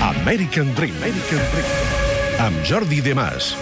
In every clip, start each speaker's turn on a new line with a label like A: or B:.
A: American Dream. American Dream. Amb Jordi Demàs.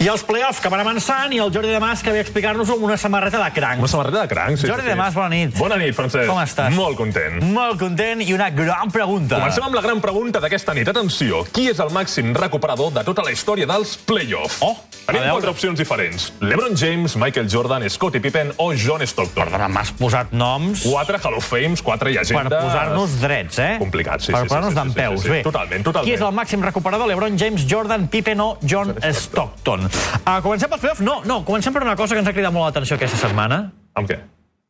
B: I els play-offs que van avançant i el Jordi de Mas que ve a explicar-nos-ho amb una samarreta de cranc.
C: Una samarreta de cranc, sí.
B: Jordi
C: sí, sí.
B: de Mas, bona nit.
C: Bona nit, Francesc.
B: Com estàs?
C: Molt content.
B: Molt content i una gran pregunta.
C: Comencem amb la gran pregunta d'aquesta nit. Atenció, qui és el màxim recuperador de tota la història dels play-off?
B: Oh, a
C: Tenim
B: veure.
C: quatre opcions diferents. LeBron James, Michael Jordan, Scottie Pippen o John Stockton.
B: Perdona, m'has posat noms
C: Quatre Hall of Fames, quatre
B: per
C: llegendes...
B: posar-nos drets, eh?
C: Complicat, sí,
B: Per
C: sí,
B: posar-nos
C: sí, sí,
B: d'en
C: sí,
B: peus.
C: sí, sí.
B: Bé,
C: Totalment, totalment.
B: Qui és el màxim recuperador? LeBron James, Jordan, Pippen o John Stockton. Uh, comencem pels playoffs? No, no, comencem per una cosa que ens ha cridat molt l'atenció aquesta setmana.
C: Amb què?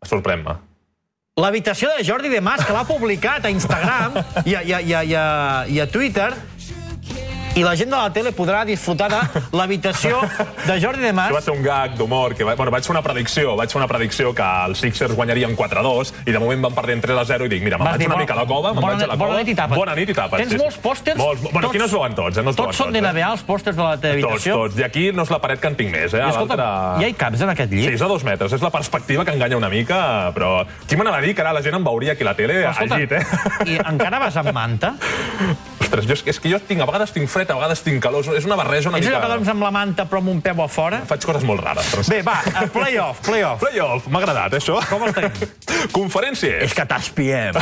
C: Sorprèn-me.
B: L'habitació de Jordi de Mas, que l'ha publicat a Instagram i a, i, a, i, a, i, a, i a Twitter, i la gent de la tele podrà disfrutar de l'habitació de Jordi de Mas.
C: Això va ser un gag d'humor, que va... bueno, vaig fer una predicció, vaig fer una predicció que els Sixers guanyarien 4-2 i de moment van perdent 3-0 i dic, mira, me'n
B: Vas
C: vaig
B: dir,
C: una
B: bona-
C: mica a la cova, me'n
B: bona
C: vaig a la
B: nit-
C: cova.
B: bona nit i tapa't.
C: Bona nit i tapa't.
B: Tens molts pòsters?
C: Molts... Bueno,
B: Tots-
C: aquí no es veuen tots, eh? No es veuen
B: Tots són de
C: eh?
B: NBA, els pòsters de la teva
C: Tots,
B: habitació.
C: tots. I aquí no és la paret que en tinc més, eh?
B: I
C: A
B: escolta,
C: l'altra-
B: ja hi caps en aquest
C: Sí,
B: llit?
C: és a dos metres. És la perspectiva que enganya una mica, però... Qui m'anava a dir que ara la gent em veuria aquí a la tele
B: Però
C: al llit, eh?
B: I encara vas amb manta?
C: Ostres, jo, és, que- és que jo tinc, a vegades tinc fred, a vegades tinc calor. És- És una barreja una
B: Ets allò
C: mica...
B: que dorms amb la manta però amb un peu a fora?
C: Faig coses molt rares. Però...
B: Bé, va, eh, play-off, play-off.
C: Playoff, m'ha agradat, eh, això.
B: Com el tenim?
C: Conferència.
B: És que t'espiem.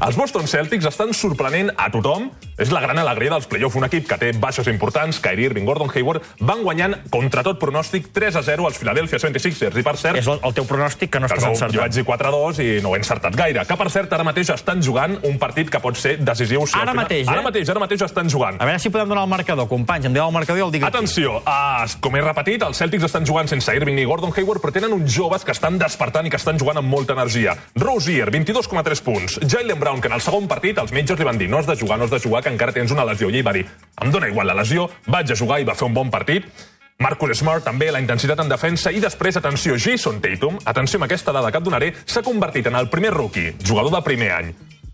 C: Els Boston Celtics estan sorprenent a tothom. És la gran alegria dels play-off. Un equip que té baixes importants, Kyrie Irving, Gordon Hayward, van guanyant contra tot pronòstic 3 a 0 als Philadelphia 76ers. I per cert,
B: És el, el teu pronòstic que no
C: que
B: estàs
C: no, jo vaig
B: encertant.
C: dir 4-2 i no ho he encertat gaire. Que, per cert, ara mateix estan jugant un partit que pot ser decisiu. Si al
B: Ara mateix, eh?
C: Ara mateix, ara mateix estan jugant.
B: A veure si podem donar el marcador, companys. Em dieu el marcador i el dic aquí.
C: Atenció, ah, com he repetit, els Celtics estan jugant sense Irving ni Gordon Hayward, però tenen uns joves que estan despertant i que estan jugant amb molta energia. Rozier, 22,3 punts. Jalen Brown, que en el segon partit els metges li van dir no has de jugar, no has de jugar, que encara tens una lesió. I ell va dir, em dóna igual la lesió, vaig a jugar i va fer un bon partit. Marcus Smart, també, la intensitat en defensa i després, atenció, Jason Tatum, atenció amb aquesta dada que et donaré, s'ha convertit en el primer rookie, jugador de primer any,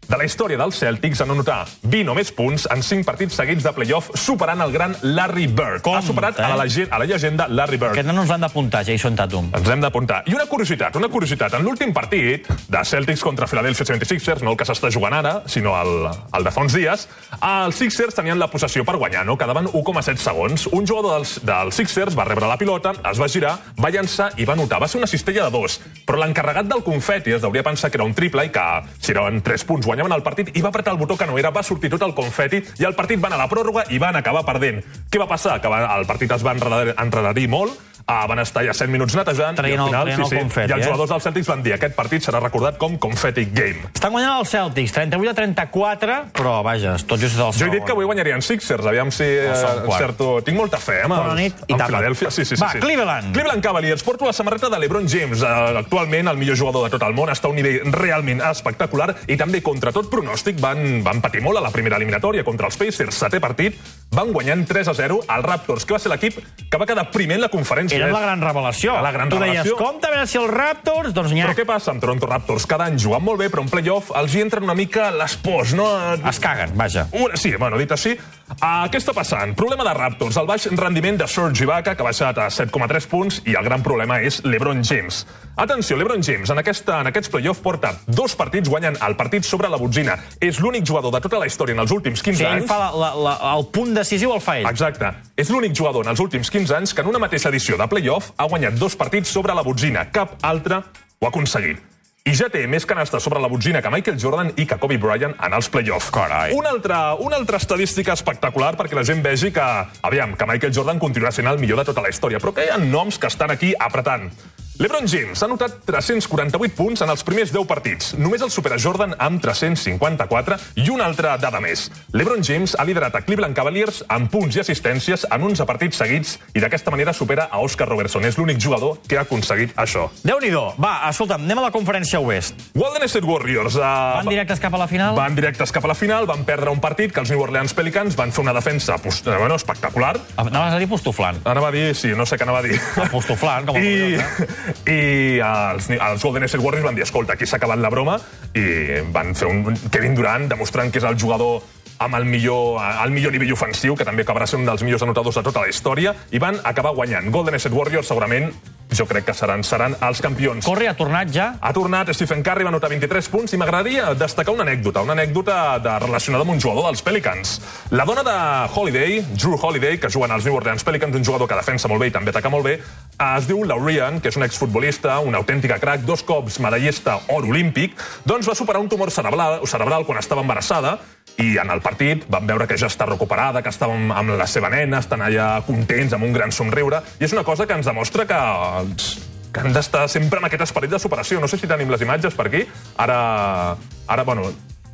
C: de la història dels Celtics en anotar 20 o més punts en 5 partits seguits de playoff, superant el gran Larry Bird.
B: Com,
C: ha superat a, la, lege- a la llegenda Larry Bird.
B: Aquest no ens l'han d'apuntar, Jason Tatum.
C: Ens hem d'apuntar. I una curiositat, una curiositat. En l'últim partit de Celtics contra Philadelphia 76ers, no el que s'està jugant ara, sinó el, el de fa uns dies, els Sixers tenien la possessió per guanyar, no? Quedaven 1,7 segons. Un jugador dels, dels Sixers va rebre la pilota, es va girar, va llançar i va notar. Va ser una cistella de dos, però l'encarregat del confeti es deuria pensar que era un triple i que si eren 3 punts guanyaven el partit i va apretar el botó que no era, va sortir tot el confeti i el partit va anar a la pròrroga i van acabar perdent. Què va passar? Que va, el partit es va enredar, enredarir molt, Ah, van estar ja 100 minuts netejant
B: Traient
C: i al
B: el-
C: final,
B: traient el
C: sí, sí,
B: confeti,
C: i els
B: eh?
C: jugadors dels Celtics van dir aquest partit serà recordat com Confetti Game.
B: Estan guanyant els Celtics, 38 a 34, però vaja, és tot just del
C: Jo
B: segon.
C: he dit que avui guanyarien Sixers, aviam si eh,
B: segon quart.
C: certo... Tinc molta fe, eh, amb,
B: Bona
C: els-
B: nit i
C: amb
B: tapa't.
C: Philadelphia. Sí, sí, sí,
B: Va,
C: sí.
B: Cleveland.
C: Cleveland Cavaliers. Porto la samarreta de LeBron James, eh, actualment el millor jugador de tot el món. Està a un nivell realment espectacular i també contra tot pronòstic van, van patir molt a la primera eliminatòria contra els Pacers. Setè partit, van guanyant 3 a 0 als Raptors, que va ser l'equip que va quedar primer en la conferència.
B: Era
C: eh?
B: la gran revelació.
C: Era la gran
B: tu deies,
C: revelació.
B: compte a veure si els Raptors... Doncs n'hi ha...
C: Però què passa amb Toronto Raptors? Cada any jugant molt bé, però en playoff els hi entren una mica les pors, no?
B: Es caguen, vaja.
C: Una, sí, bueno, dit així, uh, què està passant? Problema de Raptors, el baix rendiment de Serge Ibaka, que ha baixat a 7,3 punts, i el gran problema és LeBron James. Atenció, LeBron James, en, aquesta, en aquests playoff porta dos partits guanyant el partit sobre la botzina. És l'únic jugador de tota la història en els últims 15
B: Si ell
C: anys...
B: fa la, la, la, el punt decisiu, el fa ell.
C: Exacte. És l'únic jugador en els últims 15 anys que en una mateixa edició de playoff ha guanyat dos partits sobre la botzina. Cap altre ho ha aconseguit. I ja té més canasta sobre la botzina que Michael Jordan i que Kobe Bryant en els playoff.
B: Carai.
C: Una altra, una altra estadística espectacular perquè la gent vegi que, aviam, que Michael Jordan continuarà sent el millor de tota la història, però que hi ha noms que estan aquí apretant. LeBron James ha notat 348 punts en els primers 10 partits. Només el supera Jordan amb 354 i una altra dada més. LeBron James ha liderat a Cleveland Cavaliers en punts i assistències en 11 partits seguits i d'aquesta manera supera a Oscar Robertson. És l'únic jugador que ha aconseguit això.
B: Déu-n'hi-do. Va, escolta'm, anem a la conferència oest.
C: Golden State Warriors... eh,
B: Van directes cap a la final?
C: Van directes cap a la final, van perdre un partit que els New Orleans Pelicans van fer una defensa post- eh, bueno, espectacular.
B: Anaves a dir postuflant.
C: Ara va dir, sí, no sé què anava a dir.
B: Postuflant, com el
C: I,
B: Mallorca.
C: i eh, els, els Golden State Warriors van dir, escolta, aquí s'ha acabat la broma, i van fer un Kevin Durant demostrant que és el jugador amb el millor, el millor nivell ofensiu, que també acabarà sent un dels millors anotadors de tota la història, i van acabar guanyant. Golden State Warriors segurament jo crec que seran, seran els campions.
B: Corre, ha tornat ja.
C: Ha tornat Stephen Curry, va anotar 23 punts i m'agradaria destacar una anècdota, una anècdota de, relacionada amb un jugador dels Pelicans. La dona de Holiday, Drew Holiday, que juguen als New Orleans Pelicans, un jugador que defensa molt bé i també ataca molt bé, es diu Laurian, que és un exfutbolista, una autèntica crac, dos cops medallista or olímpic, doncs va superar un tumor cerebral, cerebral quan estava embarassada i en el partit van veure que ja està recuperada, que estava amb, amb la seva nena, estan allà contents, amb un gran somriure, i és una cosa que ens demostra que, eh, que han d'estar sempre amb aquest esperit de superació. No sé si tenim les imatges per aquí. Ara, ara bueno,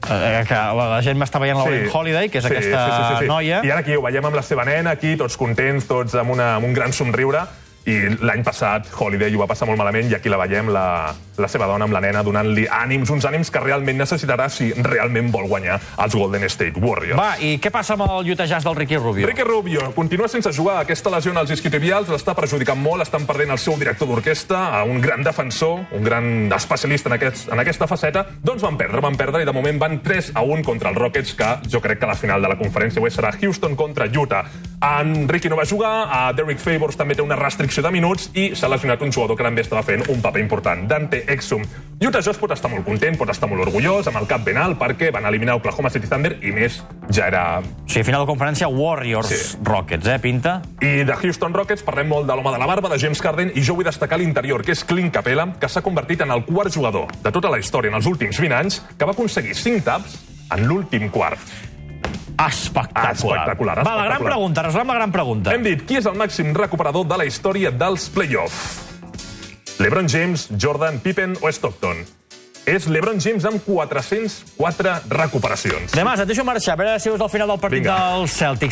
B: Eh, que la, la gent m'està veient Lauren Holiday, que és aquesta noia.
C: I ara aquí ho veiem amb la seva nena, aquí, tots contents, tots amb, una, amb un gran somriure. I l'any passat Holiday ho va passar molt malament i aquí la veiem, la, la seva dona amb la nena, donant-li ànims, uns ànims que realment necessitarà si realment vol guanyar els Golden State Warriors.
B: Va, i què passa amb el lluitejàs del Ricky Rubio?
C: Enrique Rubio continua sense jugar. Aquesta lesió en els isquiotibials l'està perjudicant molt. Estan perdent el seu director d'orquestra, a un gran defensor, un gran especialista en, aquest, en aquesta faceta. Doncs van perdre, van perdre i de moment van 3 a 1 contra els Rockets, que jo crec que la final de la conferència oest serà Houston contra Utah. En Ricky no va jugar, a Derek Favors també té una restricció de minuts i s'ha lesionat un jugador que també estava fent un paper important, Dante Exum. Utah Jazz pot estar molt content, pot estar molt orgullós, amb el cap ben alt, perquè van eliminar Oklahoma City Thunder i més ja era
B: O sigui, final de conferència, Warriors-Rockets, eh, pinta?
C: I de Houston Rockets parlem molt de l'home de la barba, de James Harden, i jo vull destacar l'interior, que és Clint Capella, que s'ha convertit en el quart jugador de tota la història en els últims 20 anys, que va aconseguir 5 taps en l'últim quart.
B: Espectacular. Espectacular,
C: Espectacular,
B: Va, la gran
C: espectacular.
B: pregunta, resolem la gran pregunta.
C: Hem dit qui és el màxim recuperador de la història dels play-offs. LeBron James, Jordan, Pippen o Stockton? És LeBron James amb 404 recuperacions.
B: Demà, et deixo marxar, a veure si veus el final del partit
C: Vinga.
B: dels Celtics.